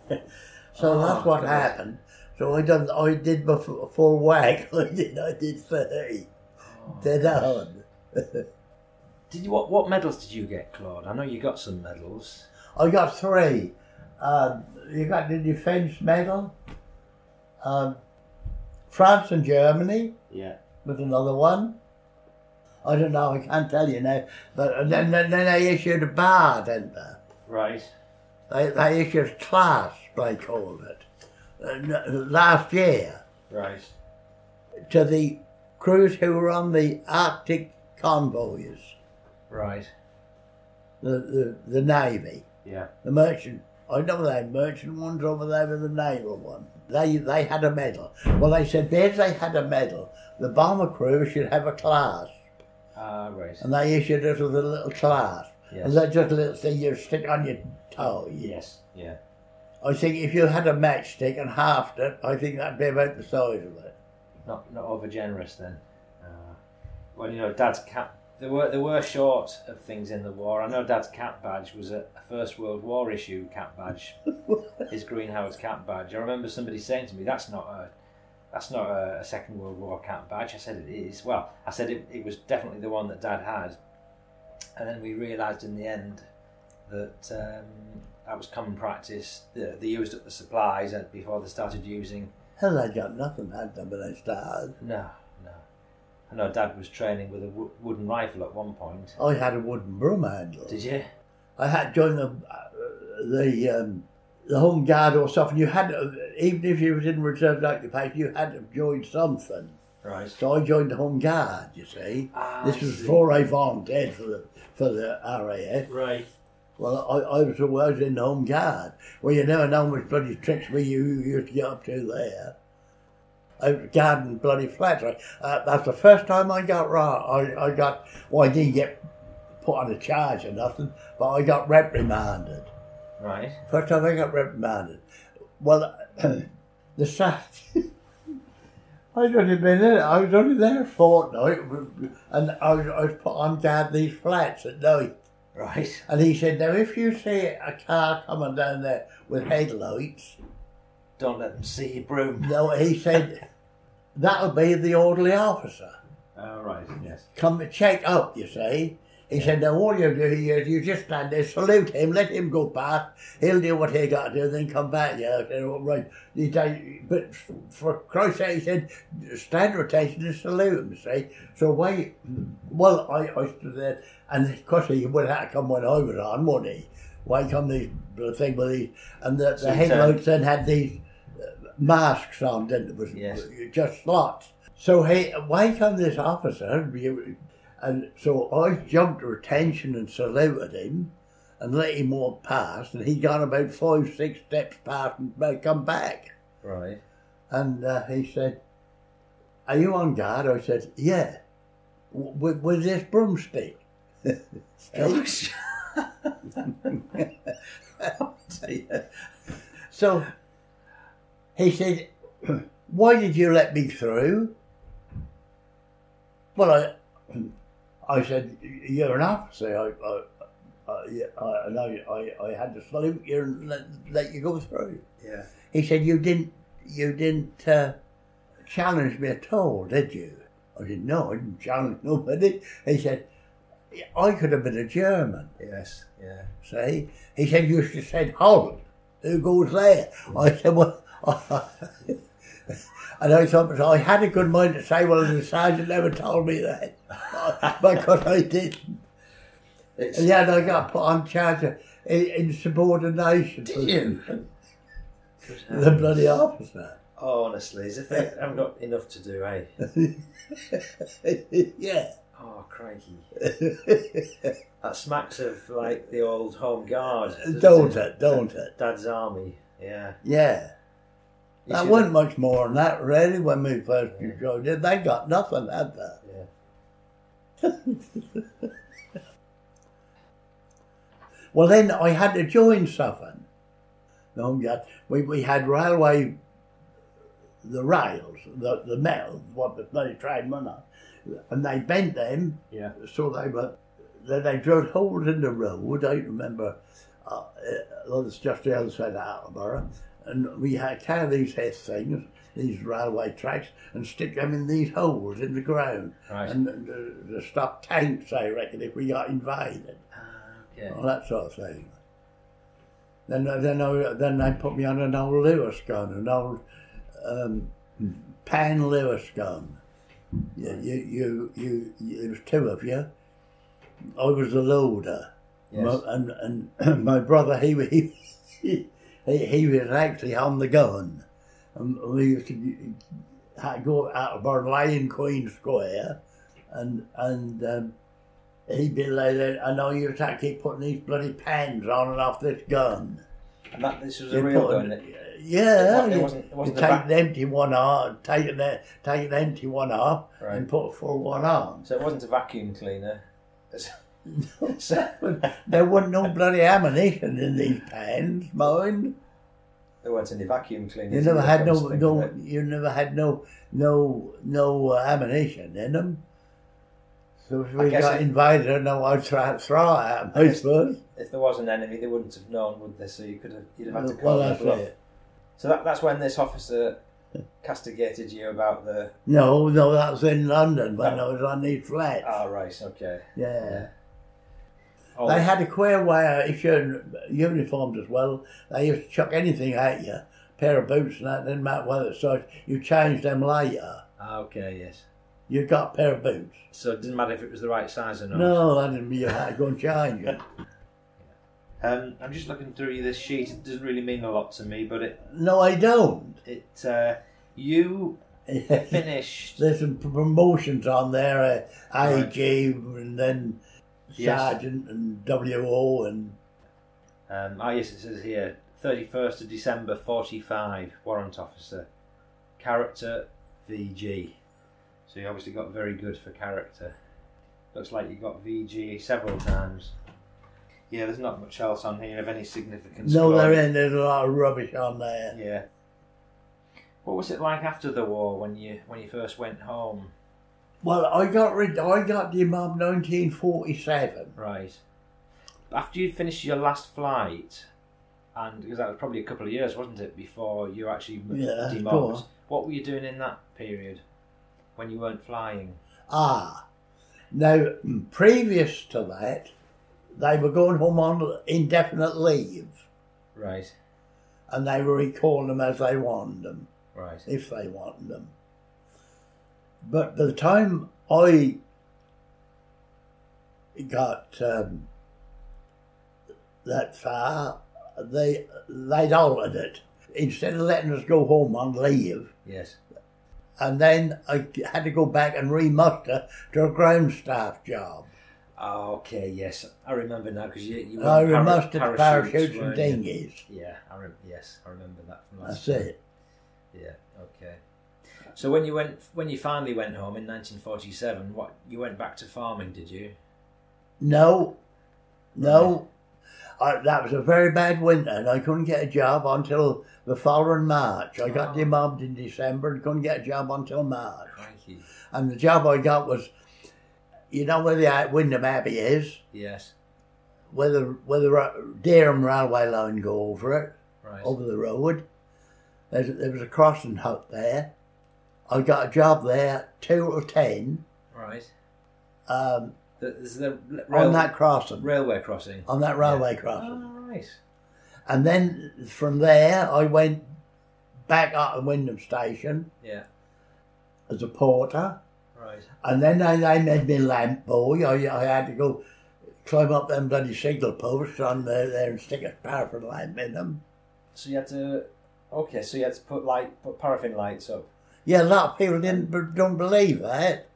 [SPEAKER 3] So
[SPEAKER 1] Oh,
[SPEAKER 3] that's what
[SPEAKER 1] God.
[SPEAKER 3] happened. So I done. I did my f- full wag. I did. I did thirty.
[SPEAKER 1] Oh,
[SPEAKER 3] Dead on.
[SPEAKER 1] Did you what? What medals did you get, Claude? I know you got some medals.
[SPEAKER 3] I got three. Um, you got the defence medal. Um, France and Germany
[SPEAKER 1] Yeah.
[SPEAKER 3] with another one. I don't know. I can't tell you now. But and then then, then they issued a bar, didn't they?
[SPEAKER 1] Right.
[SPEAKER 3] They, they issued a class. They called it uh, n- last year
[SPEAKER 1] Right.
[SPEAKER 3] to the crews who were on the Arctic convoys,
[SPEAKER 1] Right.
[SPEAKER 3] the the, the navy.
[SPEAKER 1] Yeah.
[SPEAKER 3] the merchant. I know they had merchant ones over there with the naval one. They they had a medal. Well, they said there they had a medal. The bomber crew should have a class,
[SPEAKER 1] Ah, right.
[SPEAKER 3] and they issued us with a little class. And
[SPEAKER 1] Yes.
[SPEAKER 3] that's just a little thing you stick on your toe.
[SPEAKER 1] Yes. Yeah.
[SPEAKER 3] I think if you had a matchstick and halved it, I think that'd be about the size of it.
[SPEAKER 1] Not not over generous then. Uh, well, you know, Dad's cap. There were there were short of things in the war. I know Dad's cap badge was a a First World War issue cap badge. his greenhouse cap badge. I remember somebody saying to me, "That's not a." That's not a, a Second World War cap badge. I said it is. Well, I said it, it was definitely the one that Dad had, and then we realised in the end that um, that was common practice. They, they used up the supplies and before they started using
[SPEAKER 3] Hell, they got nothing had them when they started.
[SPEAKER 1] no, no. I know Dad was training with a wo- wooden rifle at one point.
[SPEAKER 3] I had a wooden broom handle.
[SPEAKER 1] Did you?
[SPEAKER 3] I had joined the uh, the um, the home guard or something. You had to, even if you was in reserve occupation, you had to join something.
[SPEAKER 1] Right.
[SPEAKER 3] So I joined the home guard. You see,
[SPEAKER 1] Ah,
[SPEAKER 3] this
[SPEAKER 1] I
[SPEAKER 3] was
[SPEAKER 1] see.
[SPEAKER 3] before I volunteered for the for the RAF.
[SPEAKER 1] Right.
[SPEAKER 3] Well, I, I was always in the home guard. Well, you never know which bloody tricks we you you used to get up to there. I was guarding bloody flats. I, uh, that's the first time I got right. I, I got well, I didn't get put on a charge or nothing, but I got reprimanded.
[SPEAKER 1] Right.
[SPEAKER 3] First time I got reprimanded. Well, the sad. I'd only been in it. I was only there a fortnight, and I was, I was put on guard these flats at night.
[SPEAKER 1] Right.
[SPEAKER 3] And he said, "Now, if you see a car coming down there with headlights,
[SPEAKER 1] Don't let them see your broom.
[SPEAKER 3] no," he said, "that'll be the orderly officer
[SPEAKER 1] Oh, right. Yes.
[SPEAKER 3] come to check up." You see. He said, "Now all you do is you just stand there, salute him, let him go past. He'll do what he got to do, then come back." Yeah, I said, "All right." He said, "But for Christ's sake," he said, "stand rotation and salute him." See, so why? Well, I, I stood there, and of course he would have come when I was on, wouldn't he? Why come these the thing with these? And the, the
[SPEAKER 1] Sometimes.
[SPEAKER 3] headlights then had these uh, masks on, didn't it? Was
[SPEAKER 1] Yes.
[SPEAKER 3] just slots. So hey, why come this officer? You- And so I jumped retention and saluted him, and let him walk past. And he got about five, six steps past and uh, come back.
[SPEAKER 1] Right.
[SPEAKER 3] And uh, he said, Are you on guard? I said, Yeah, w- with, with this broomstick.
[SPEAKER 1] Gosh.
[SPEAKER 3] so He said, Why did you let me through? Well, I, I said, You're an officer. I, I, I, yeah, I, and I, I, I had to salute you and let, let you go through.
[SPEAKER 1] Yeah.
[SPEAKER 3] He said, You didn't, you didn't uh, challenge me at all, did you? I said, No, I didn't challenge nobody. He said, I could have been a German.
[SPEAKER 1] Yes. Yeah.
[SPEAKER 3] See, he said you should have said Holland. Who goes there? I said, well, and I thought so I had a good mind to say, well, the sergeant never told me that because I didn't.
[SPEAKER 1] It's,
[SPEAKER 3] And yeah, and I got put on charge of in- insubordination. for
[SPEAKER 1] you?
[SPEAKER 3] The bloody officer.
[SPEAKER 1] Oh, honestly, as if I haven't got enough to do, eh?
[SPEAKER 3] yeah.
[SPEAKER 1] Oh, crikey. That smacks of like the old home guard. doesn't
[SPEAKER 3] don't it? Don't it?
[SPEAKER 1] Dad's army. Yeah.
[SPEAKER 3] Yeah.
[SPEAKER 1] You
[SPEAKER 3] that
[SPEAKER 1] see
[SPEAKER 3] wasn't much more than that, really, when we first joined it. They got nothing, had they?
[SPEAKER 1] Yeah.
[SPEAKER 3] Well, then I had to join Southern. No, we had- we, we had railway, the rails, the, the metal, what the bloody train went on, and they bent them
[SPEAKER 1] Yeah.
[SPEAKER 3] so they were, then they drilled holes in the road. I remember, uh, uh, that's just the other side of Attleborough, and we had carry these here things, these railway tracks, and stick them in these holes in the ground,
[SPEAKER 1] Right.
[SPEAKER 3] and uh, to stop tanks, I reckon, if we got invaded
[SPEAKER 1] Yeah.
[SPEAKER 3] all that sort of thing. Then then I, then they put me on an old Lewis gun, an old um, pan Lewis gun. You, you, you, you, it was two of you. I was the loader,
[SPEAKER 1] Yes.
[SPEAKER 3] my, and and my brother he wa- he, he he was actually on the gun, and we used to had go out of our Lion Queen Square, and and. Um, He'd be like that. I know you to keep putting these bloody pans on and off this gun.
[SPEAKER 1] And that this was
[SPEAKER 3] You
[SPEAKER 1] a real
[SPEAKER 3] put
[SPEAKER 1] gun.
[SPEAKER 3] an-
[SPEAKER 1] it-
[SPEAKER 3] Yeah,
[SPEAKER 1] It
[SPEAKER 3] you-
[SPEAKER 1] wasn't- it wasn't
[SPEAKER 3] you
[SPEAKER 1] a
[SPEAKER 3] take
[SPEAKER 1] back-
[SPEAKER 3] an empty one off, take an, e- take an empty one off,
[SPEAKER 1] Right.
[SPEAKER 3] and put a full one on.
[SPEAKER 1] So it wasn't a vacuum cleaner. It's-
[SPEAKER 3] there wasn't no bloody ammunition in these pans, mind.
[SPEAKER 1] there weren't any vacuum cleaners.
[SPEAKER 3] You never
[SPEAKER 1] either,
[SPEAKER 3] had
[SPEAKER 1] come
[SPEAKER 3] no,
[SPEAKER 1] to think
[SPEAKER 3] no
[SPEAKER 1] of it.
[SPEAKER 3] you never had no no no uh, ammunition in them. So if we
[SPEAKER 1] guess
[SPEAKER 3] got
[SPEAKER 1] if-
[SPEAKER 3] invited, I know I'd try to throw it at 'em, I suppose.
[SPEAKER 1] If there was an enemy, they wouldn't have known, would they? So you could have, you'd have had to
[SPEAKER 3] Well,
[SPEAKER 1] call and
[SPEAKER 3] that's
[SPEAKER 1] bluff.
[SPEAKER 3] it.
[SPEAKER 1] So that, that's when this officer castigated you about the.
[SPEAKER 3] No, no, that was in London when
[SPEAKER 1] Oh.
[SPEAKER 3] I was on these flats.
[SPEAKER 1] Ah, right, okay.
[SPEAKER 3] Yeah.
[SPEAKER 1] Oh,
[SPEAKER 3] They had a queer way of issuing uniforms as well. They used to chuck anything at you, pair of boots and that, didn't matter whether it's size. You changed them later.
[SPEAKER 1] ah, okay, yes.
[SPEAKER 3] You got a pair of boots.
[SPEAKER 1] So it didn't matter if it was the right size or not.
[SPEAKER 3] No, that didn't mean you had to go and change them.
[SPEAKER 1] Um, I'm just looking through this sheet. It doesn't really mean a lot to me, but it
[SPEAKER 3] No, I don't.
[SPEAKER 1] it uh, you finished.
[SPEAKER 3] There's some promotions on there, uh,
[SPEAKER 1] Right.
[SPEAKER 3] IG and then
[SPEAKER 1] Yes.
[SPEAKER 3] Sergeant and WO and
[SPEAKER 1] Um, ah, yes, it says here 31st of December 45, warrant officer, character VG. So you obviously got very good for character. Looks like you got VG several times. Yeah, there's not much else on here of any significance.
[SPEAKER 3] no,
[SPEAKER 1] Gordon.
[SPEAKER 3] there ain't. There's a lot of rubbish on there.
[SPEAKER 1] Yeah. What was it like after the war when you when you first went home?
[SPEAKER 3] Well, I got rid. I got the mob 1947.
[SPEAKER 1] Right. After you'd finished your last flight, and because that was probably a couple of years, wasn't it, before you actually m-
[SPEAKER 3] Yeah,
[SPEAKER 1] demobbed?
[SPEAKER 3] go on.
[SPEAKER 1] What were you doing in that period when you weren't flying?
[SPEAKER 3] Ah, now previous to that, they were going home on indefinite leave,
[SPEAKER 1] Right,
[SPEAKER 3] and they were recalling them as they wanted them,
[SPEAKER 1] right,
[SPEAKER 3] if they wanted them. But by the time I got um, that far, they they'd altered it. Instead of letting us go home on leave,
[SPEAKER 1] yes.
[SPEAKER 3] and then I had to go back and remuster to a ground staff job.
[SPEAKER 1] Oh, okay, yes, I remember now because you you
[SPEAKER 3] I
[SPEAKER 1] were in para-
[SPEAKER 3] remustered the parachutes and
[SPEAKER 1] weren't you?
[SPEAKER 3] dinghies.
[SPEAKER 1] Yeah, I rem- yes, I remember that from last.
[SPEAKER 3] That's it.
[SPEAKER 1] Yeah, okay. So when you went when you finally went home in 1947, what you went back to farming, did you?
[SPEAKER 3] No, no. I, that was a very bad winter, and I couldn't get a job until the following March. I got
[SPEAKER 2] Oh.
[SPEAKER 3] demobbed in December and couldn't get a job until March.
[SPEAKER 2] Crikey.
[SPEAKER 3] And the job I got was, you know where the uh, Wyndham Abbey is,
[SPEAKER 2] Yes.
[SPEAKER 3] where the, where the Ro- Dereham railway line go over it,
[SPEAKER 2] Right.
[SPEAKER 3] over the road. There's, there was a crossing hut there. I got a job there two or ten
[SPEAKER 2] Right.
[SPEAKER 3] um,
[SPEAKER 2] Th- There's the l-
[SPEAKER 3] on
[SPEAKER 2] rail-
[SPEAKER 3] that crossing,
[SPEAKER 2] railway crossing.
[SPEAKER 3] on that railway crossing.
[SPEAKER 2] Oh, right.
[SPEAKER 3] And then from there, I went back up to Wyndham Station
[SPEAKER 2] Yeah.
[SPEAKER 3] as a porter.
[SPEAKER 2] Right.
[SPEAKER 3] And then they, they made me lamp boy. I, I had to go climb up them bloody signal posts on there, there and stick a paraffin lamp in them.
[SPEAKER 2] So you had to. Okay, so you had to put light, put paraffin lights up.
[SPEAKER 3] Yeah, a lot of people didn't b- don't believe that.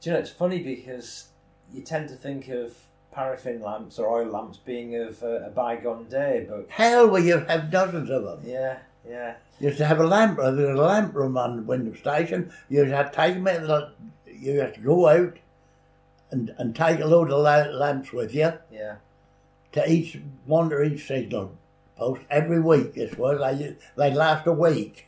[SPEAKER 2] Do you know it's funny because you tend to think of paraffin lamps or oil lamps being of uh, a bygone day, but
[SPEAKER 3] Hell, well, you have dozens of them.
[SPEAKER 2] yeah, yeah,
[SPEAKER 3] You used to have a lamp, there was a lamp room on Wyndham Station. You had to take them, in, like, you had to go out and, and take a load of la- lamps with you.
[SPEAKER 2] yeah,
[SPEAKER 3] to each one to each signal post every week. This was they they last a week.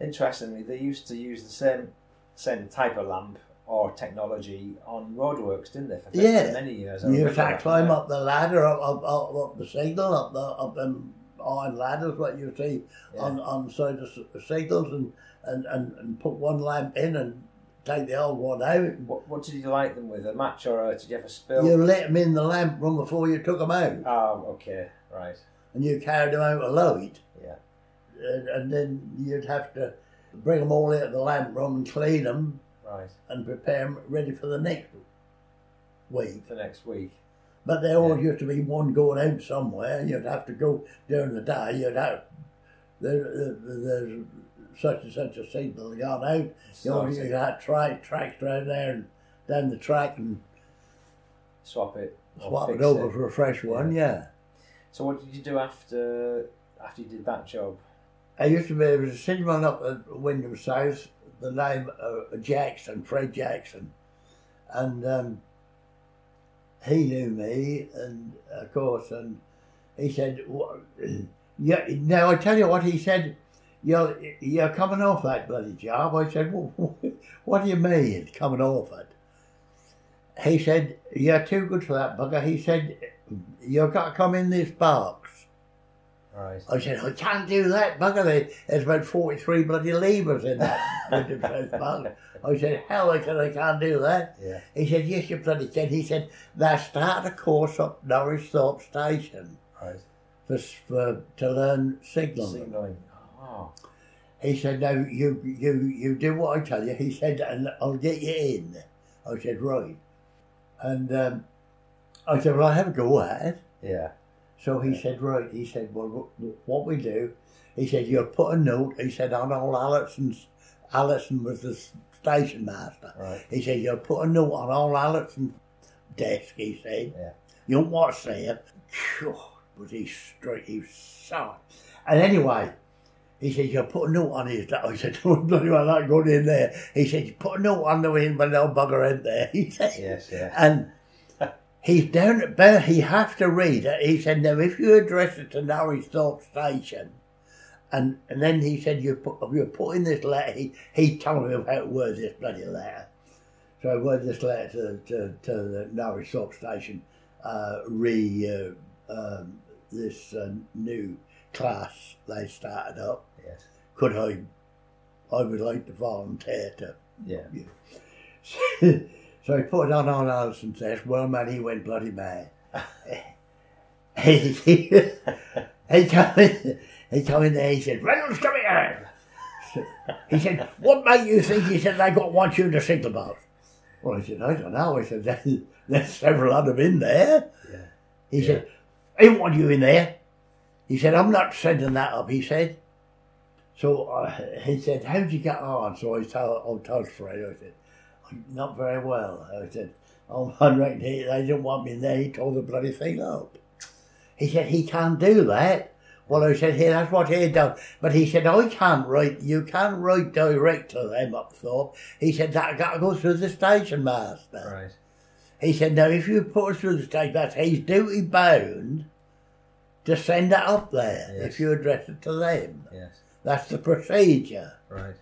[SPEAKER 2] Interestingly, they used to use the same same type of lamp or technology on roadworks, didn't they? For
[SPEAKER 3] Yeah.
[SPEAKER 2] many years. I
[SPEAKER 3] You
[SPEAKER 2] remember
[SPEAKER 3] had to
[SPEAKER 2] that,
[SPEAKER 3] climb
[SPEAKER 2] yeah.
[SPEAKER 3] up the ladder, up up, up, up the signal, up the up them iron ladders, what you see
[SPEAKER 2] Yeah.
[SPEAKER 3] on on side of s- signals, and, and and and put one lamp in and take the old one out.
[SPEAKER 2] What, what did you light them with? A match or a, did you have a spill?
[SPEAKER 3] You let them in the lamp room before you took them out,
[SPEAKER 1] Um,
[SPEAKER 2] Oh, okay, right,
[SPEAKER 3] and you carried them out a load,
[SPEAKER 2] yeah,
[SPEAKER 3] and, and then you'd have to bring them all out of the lamp room and clean them
[SPEAKER 2] right.
[SPEAKER 3] and prepare 'em ready for the next week.
[SPEAKER 2] For next week.
[SPEAKER 3] But there always used to be one going out somewhere. You'd have to go during the day. You'd have there, there, there's such and such a signal gone out. You
[SPEAKER 2] Sort
[SPEAKER 3] know,
[SPEAKER 2] it,
[SPEAKER 3] you had track tracks down there and down the track and
[SPEAKER 2] swap it. or
[SPEAKER 3] swap it
[SPEAKER 2] fix
[SPEAKER 3] over for a fresh one. Yeah.
[SPEAKER 2] So what did you do after after you did that job?
[SPEAKER 3] I used to be there was a cinnamon up at Wyndham South. The name uh, Jackson, Fred Jackson, and um, he knew me, and of course, and he said, "Wha- "Yeah." Now I tell you what he said. You're you're coming off that bloody job. I said, well, "What do you mean coming off it?" He said, "You're too good for that bugger." He said, "You've got to come in this box."
[SPEAKER 2] Right.
[SPEAKER 3] I said, I can't do that, bugger. There- There's about 43 bloody levers in that bloody press box. I said, hell, I said, I can't do that.
[SPEAKER 2] Yeah.
[SPEAKER 3] He said, yes, you bloody can. He said, they start a course up Norwich Thorpe Station
[SPEAKER 2] Right.
[SPEAKER 3] for, s- for, to learn signalling.
[SPEAKER 2] Signaling. Oh.
[SPEAKER 3] He said, no, you, you, you do what I tell you. He said, and I'll get you in. I said, right. And um, I said, well, I have a go at it.
[SPEAKER 2] Yeah.
[SPEAKER 3] So he said, right, he said, well, wh- what we do, he said, you'll put a note, he said, on old Allison's, Allison was the s- station master.
[SPEAKER 2] Right.
[SPEAKER 3] He said, you'll put a note on old Allison's desk, he said.
[SPEAKER 2] Yeah.
[SPEAKER 3] You don't want to see it. Phew, was he straight, he was so. And anyway, he said, you'll put a note on his desk. I said, don't bloody well not going in there. He said, you put a note on the wind when they'll bugger in there, he said.
[SPEAKER 2] Yes. Yeah.
[SPEAKER 3] And he's down at Bur- he have to read it. He said, Now if you address it to Norwich Thorpe Station and and then he said you put you put in this letter he, he told me how to word this bloody letter. So I word this letter to, to, to the Norwich Thorpe Station, uh, re uh, um, this uh, new class they started up.
[SPEAKER 2] Yes.
[SPEAKER 3] Could I I would like to volunteer to
[SPEAKER 2] Yeah.
[SPEAKER 3] so he put it on on Alison's desk. Well, man, he went bloody mad. he, he, he, come in, he come in there, he said, Reynolds, come here! He said, what made you think, he said, they got one tune to sing about? Well, I said, I don't know. I said, there's, there's several of them in there.
[SPEAKER 2] Yeah.
[SPEAKER 3] He said, I don't want you in there. He said, I'm not sending that up, he said. So uh, he said, how'd you get on? So I told, I told Fred, I said, not very well. I said, oh, I reckon he, they didn't want me in there. He tore the bloody thing up. He said, he can't do that. Well, I said, here, that's what he done. But he said, I can't write, you can't write direct to them up Thorpe. He said, that got to go through the station master.
[SPEAKER 2] Right.
[SPEAKER 3] He said, now, if you put us through the station master, he's duty bound to send it up there
[SPEAKER 1] Yes.
[SPEAKER 3] if you address it to them.
[SPEAKER 1] Yes.
[SPEAKER 3] That's the procedure.
[SPEAKER 1] Right.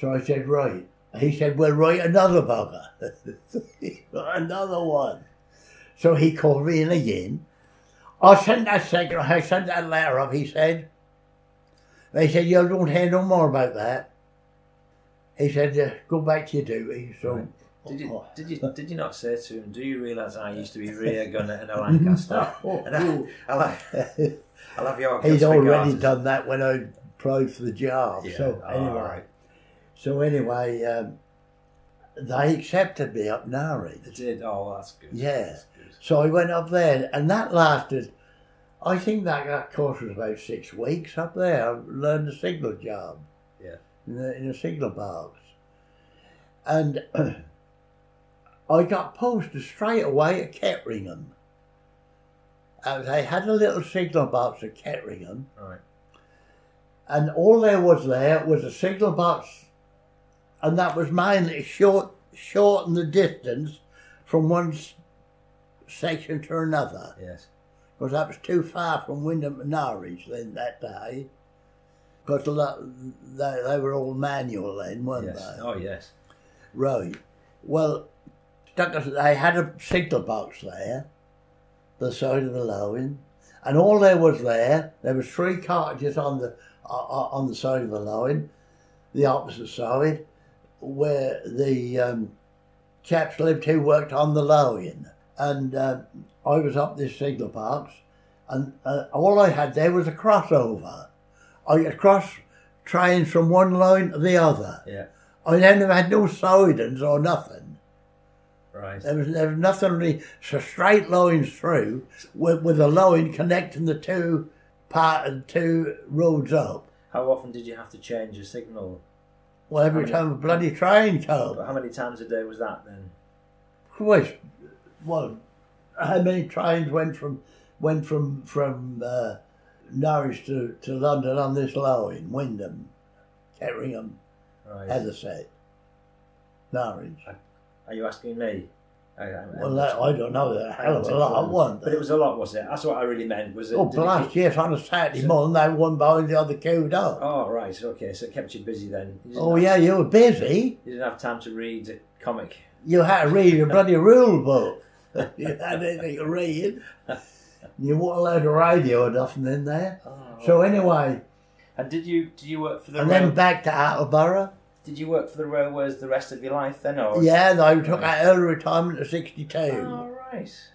[SPEAKER 3] So I said, right. He said, well, write another bugger. another one. So he called me in again. I sent that second, I sent that letter up, he said. They said, you don't hear no more about that. He said, uh, go back to your duty. So,
[SPEAKER 1] Right. Did
[SPEAKER 3] Oh.
[SPEAKER 1] you did you did you not say to him? Do you realise I used to be rear gunner in a Lancaster? And I, I'll, have, I'll have your
[SPEAKER 3] Oh, He's
[SPEAKER 1] guns
[SPEAKER 3] already
[SPEAKER 1] regardless.
[SPEAKER 3] done that when I applied for the job.
[SPEAKER 1] Yeah.
[SPEAKER 3] So
[SPEAKER 1] Oh,
[SPEAKER 3] anyway,
[SPEAKER 1] right.
[SPEAKER 3] so anyway, um, they accepted me up Nari.
[SPEAKER 1] They did. Oh, that's good.
[SPEAKER 3] Yeah.
[SPEAKER 1] That's good.
[SPEAKER 3] So I went up there, and that lasted. I think that, that course was about six weeks up there. I learned a signal job.
[SPEAKER 1] Yeah.
[SPEAKER 3] In a, in a signal box, and I got posted straight away at Ketteringham. And they had a little signal box at Ketteringham,
[SPEAKER 1] Right.
[SPEAKER 3] and all there was there was a signal box, and that was mainly short, shorten the distance from one s- section to another,
[SPEAKER 1] Yes.
[SPEAKER 3] because that was too far from Wyndham and Norwich then that day, because they, they were all manual then, weren't
[SPEAKER 1] Yes.
[SPEAKER 3] they?
[SPEAKER 1] Oh, yes.
[SPEAKER 3] Right. Well, stuck us- they had a signal box there, the side of the lowing, and all there was there, there was three cartridges on the uh, on the side of the lowing, the opposite side, where the um, chaps lived who worked on the lowing, and um I was up this signal box, and uh, all I had there was a crossover. I could cross trains from one line to the other.
[SPEAKER 1] Yeah.
[SPEAKER 3] I then had no sidings or nothing.
[SPEAKER 1] Right.
[SPEAKER 3] There was, there was nothing really. So straight lines through with, with a line connecting the two part and two roads up.
[SPEAKER 1] How often did you have to change your signal?
[SPEAKER 3] Well, every
[SPEAKER 1] I mean-
[SPEAKER 3] time a bloody train came,
[SPEAKER 1] But how many times a day was that then?
[SPEAKER 3] Christ, well, how many trains went from went from from uh, Norwich to, to London on this line? Wyndham, Ketteringham,
[SPEAKER 1] Right.
[SPEAKER 3] Heatherset, Norwich.
[SPEAKER 1] Are you asking me? I, I,
[SPEAKER 3] Well, that, I don't know. That hell of a lot, wasn't
[SPEAKER 1] But
[SPEAKER 3] there?
[SPEAKER 1] it was a lot, was it? That's what I really meant. Was it?
[SPEAKER 3] Oh,
[SPEAKER 1] did it
[SPEAKER 3] blast,
[SPEAKER 1] keep-
[SPEAKER 3] yes, on a Saturday
[SPEAKER 1] So-
[SPEAKER 3] morning, they one behind the other queued up.
[SPEAKER 1] Oh, right. Okay, so it kept you busy then. You didn't
[SPEAKER 3] Oh,
[SPEAKER 1] have-
[SPEAKER 3] yeah, you were busy.
[SPEAKER 1] You didn't have time to read a comic.
[SPEAKER 3] You had to read a bloody rule book. you had anything to read. You weren't allowed a radio or nothing in there. Oh.
[SPEAKER 1] Oh.
[SPEAKER 3] So, anyway,
[SPEAKER 7] And did you did you work for the
[SPEAKER 3] and
[SPEAKER 7] rail,
[SPEAKER 3] then back to Attleborough.
[SPEAKER 7] did you work for the railways the rest of your life then or
[SPEAKER 3] Yeah, they took out early retirement at 62.
[SPEAKER 7] Oh right.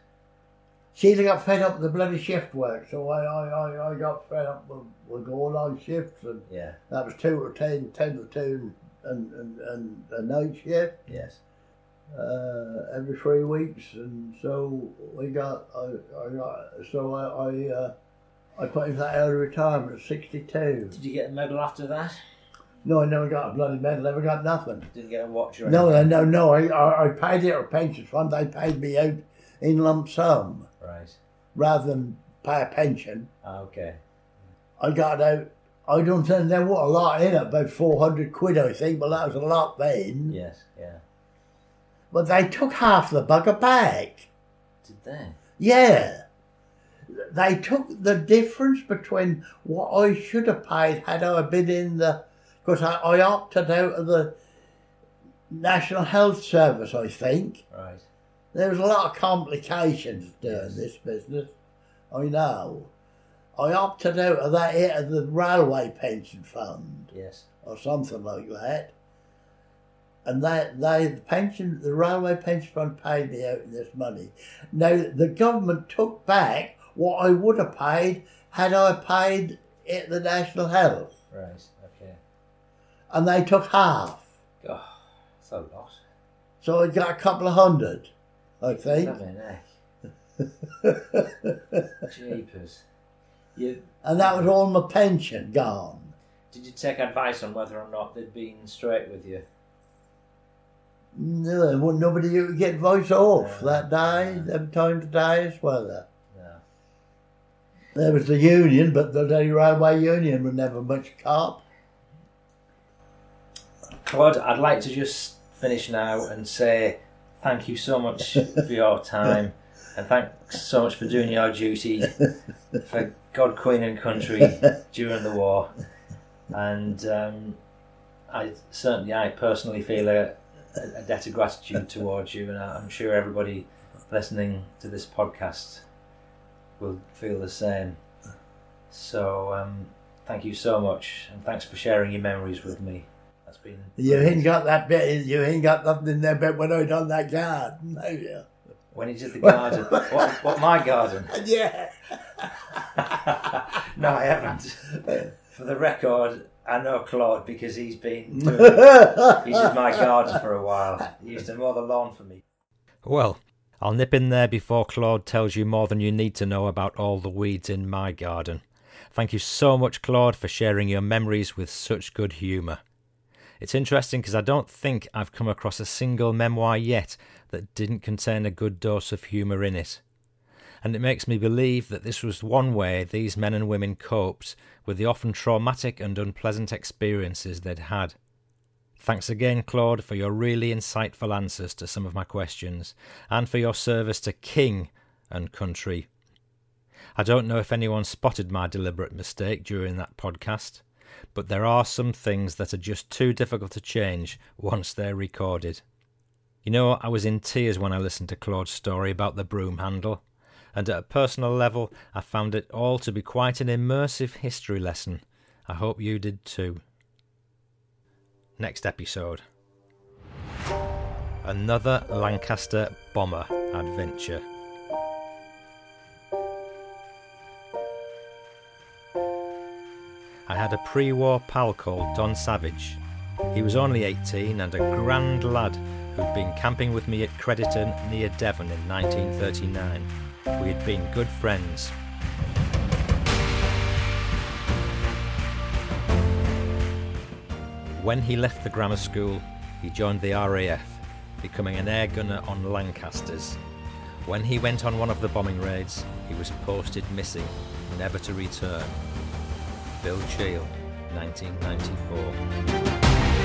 [SPEAKER 3] Sheila got fed up with the bloody shift work, so I, I, I, I got fed up with, with going on shifts and
[SPEAKER 1] Yeah.
[SPEAKER 3] That was two to ten, ten to two, and and, and a night shift
[SPEAKER 1] Yes.
[SPEAKER 3] uh, every three weeks, and so we got I, I got so I I, uh, I put in that early retirement at sixty two.
[SPEAKER 1] Did you get a medal after that?
[SPEAKER 3] No, I never got a bloody medal. Never got nothing.
[SPEAKER 1] Didn't get a watch or
[SPEAKER 3] No,
[SPEAKER 1] anything?
[SPEAKER 3] no, no, no. I I, I paid it a pension fund. They paid me out in lump sum
[SPEAKER 1] Right.
[SPEAKER 3] rather than pay a pension.
[SPEAKER 1] Ah, okay.
[SPEAKER 3] I got out. I don't think there was a lot in it, about four hundred quid, I think, but that was a lot then.
[SPEAKER 1] Yes. Yeah.
[SPEAKER 3] But they took half the bugger back.
[SPEAKER 1] Did they?
[SPEAKER 3] Yeah. They took the difference between what I should have paid had I been in the. Because I, I opted out of the National Health Service, I think.
[SPEAKER 1] Right.
[SPEAKER 3] There was a lot of complications doing
[SPEAKER 1] Yes.
[SPEAKER 3] this business. I know. I opted out of that out of the railway pension fund
[SPEAKER 1] Yes.
[SPEAKER 3] or something like that. And they, they the pension, the railway pension fund paid me out this money. Now the government took back what I would have paid had I paid it the national health,
[SPEAKER 1] Right. Okay.
[SPEAKER 3] and they took half.
[SPEAKER 1] Oh, that's a lot.
[SPEAKER 3] So I got a couple of hundred, I think.
[SPEAKER 1] Bloody heck.
[SPEAKER 3] and
[SPEAKER 1] Jeepers. You,
[SPEAKER 3] that was all my pension gone.
[SPEAKER 1] did you take advice on whether or not they'd been straight with you?
[SPEAKER 3] No, there wasn't nobody who could get voice off
[SPEAKER 1] Yeah.
[SPEAKER 3] that day, them time to day as well.
[SPEAKER 1] No.
[SPEAKER 3] There was the union, but the Daily Railway Union were never much cop.
[SPEAKER 1] Claude, I'd like to just finish now and say thank you so much for your time and thanks so much for doing your duty for
[SPEAKER 8] God, Queen and Country during the war, and um, I certainly, I personally feel a, a debt of gratitude towards you, and I- I'm sure everybody listening to this podcast will feel the same. So, um, thank you so much, and thanks for sharing your memories with me. That's been
[SPEAKER 3] You ain't got that bit. in- You ain't got nothing in there. But when I done that garden, oh, have you?
[SPEAKER 8] when you did the garden. what, what my garden?
[SPEAKER 3] Yeah.
[SPEAKER 8] no, I haven't. For the record, I know Claude because he's been doing, he's in my garden for a while. He used to mow the lawn for me.
[SPEAKER 1] Well, I'll nip in there before Claude tells you more than you need to know about all the weeds in my garden. Thank you so much, Claude, for sharing your memories with such good humour. It's interesting because I don't think I've come across a single memoir yet that didn't contain a good dose of humour in it. And it makes me believe that this was one way these men and women coped with the often traumatic and unpleasant experiences they'd had. Thanks again, Claude, for your really insightful answers to some of my questions and for your service to King and Country. I don't know if anyone spotted my deliberate mistake during that podcast, but there are some things that are just too difficult to change once they're recorded. You know, I was in tears when I listened to Claude's story about the broom handle, and at a personal level, I found it all to be quite an immersive history lesson. I hope you did too next episode. Another Lancaster bomber adventure. I had a pre war pal called Don Savage. He was only 18 and a grand lad who'd been camping with me at Crediton near Devon in 1939. We had been good friends. When he left the grammar school, he joined the RAF, becoming an air gunner on Lancasters. When he went on one of the bombing raids, he was posted missing, never to return. Bill Chale, 1994.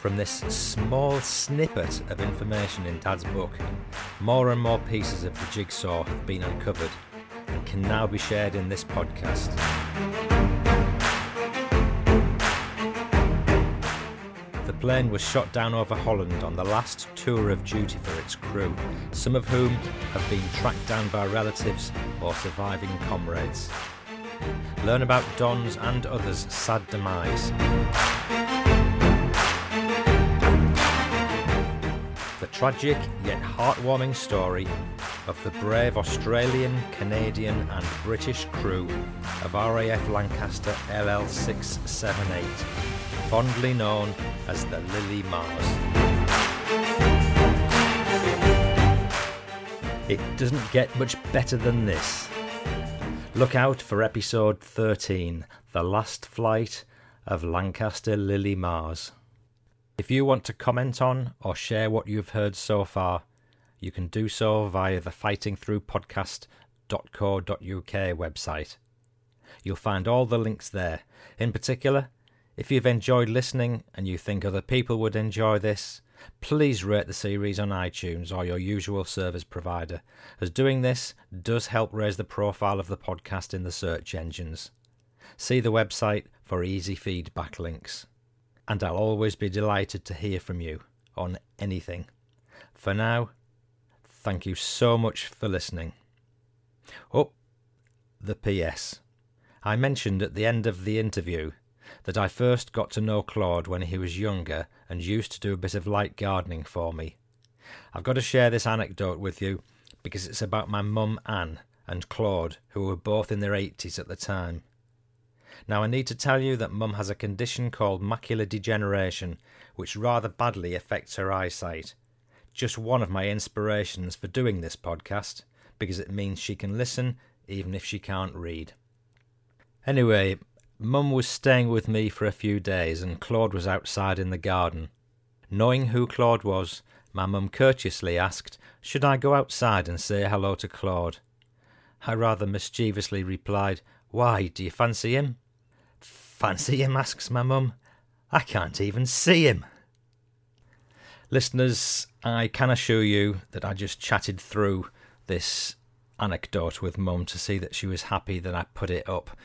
[SPEAKER 1] From this small snippet of information in Dad's book, more and more pieces of the jigsaw have been uncovered and can now be shared in this podcast. The plane was shot down over Holland on the last tour of duty for its crew, some of whom have been tracked down by relatives or surviving comrades. Learn about Don's and others' sad demise the tragic yet heartwarming story of the brave Australian, Canadian, and British crew of RAF Lancaster LL678, fondly known as the Lily Mars. It doesn't get much better than this. Look out for episode 13 The Last Flight of Lancaster Lily Mars. If you want to comment on or share what you've heard so far, you can do so via the fightingthroughpodcast.co.uk website. You'll find all the links there. In particular, if you've enjoyed listening and you think other people would enjoy this, please rate the series on iTunes or your usual service provider, as doing this does help raise the profile of the podcast in the search engines. See the website for easy feedback links and I'll always be delighted to hear from you on anything. For now, thank you so much for listening. Oh, the PS. I mentioned at the end of the interview that I first got to know Claude when he was younger and used to do a bit of light gardening for me. I've got to share this anecdote with you because it's about my mum Anne and Claude, who were both in their 80s at the time. Now, I need to tell you that Mum has a condition called macular degeneration, which rather badly affects her eyesight. Just one of my inspirations for doing this podcast, because it means she can listen even if she can't read. Anyway, Mum was staying with me for a few days, and Claude was outside in the garden. Knowing who Claude was, my mum courteously asked, Should I go outside and say hello to Claude? I rather mischievously replied, Why, do you fancy him? Fancy him? asks my mum. I can't even see him. Listeners, I can assure you that I just chatted through this anecdote with mum to see that she was happy that I put it up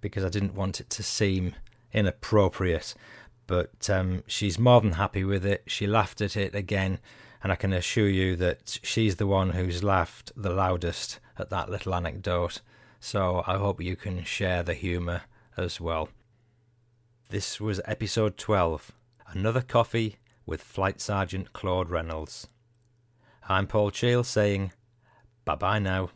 [SPEAKER 1] because I didn't want it to seem inappropriate. But um, she's more than happy with it. She laughed at it again, and I can assure you that she's the one who's laughed the loudest at that little anecdote. So I hope you can share the humour as well. This was episode 12 Another Coffee with Flight Sergeant Claude Reynolds. I'm Paul Cheel saying bye bye now.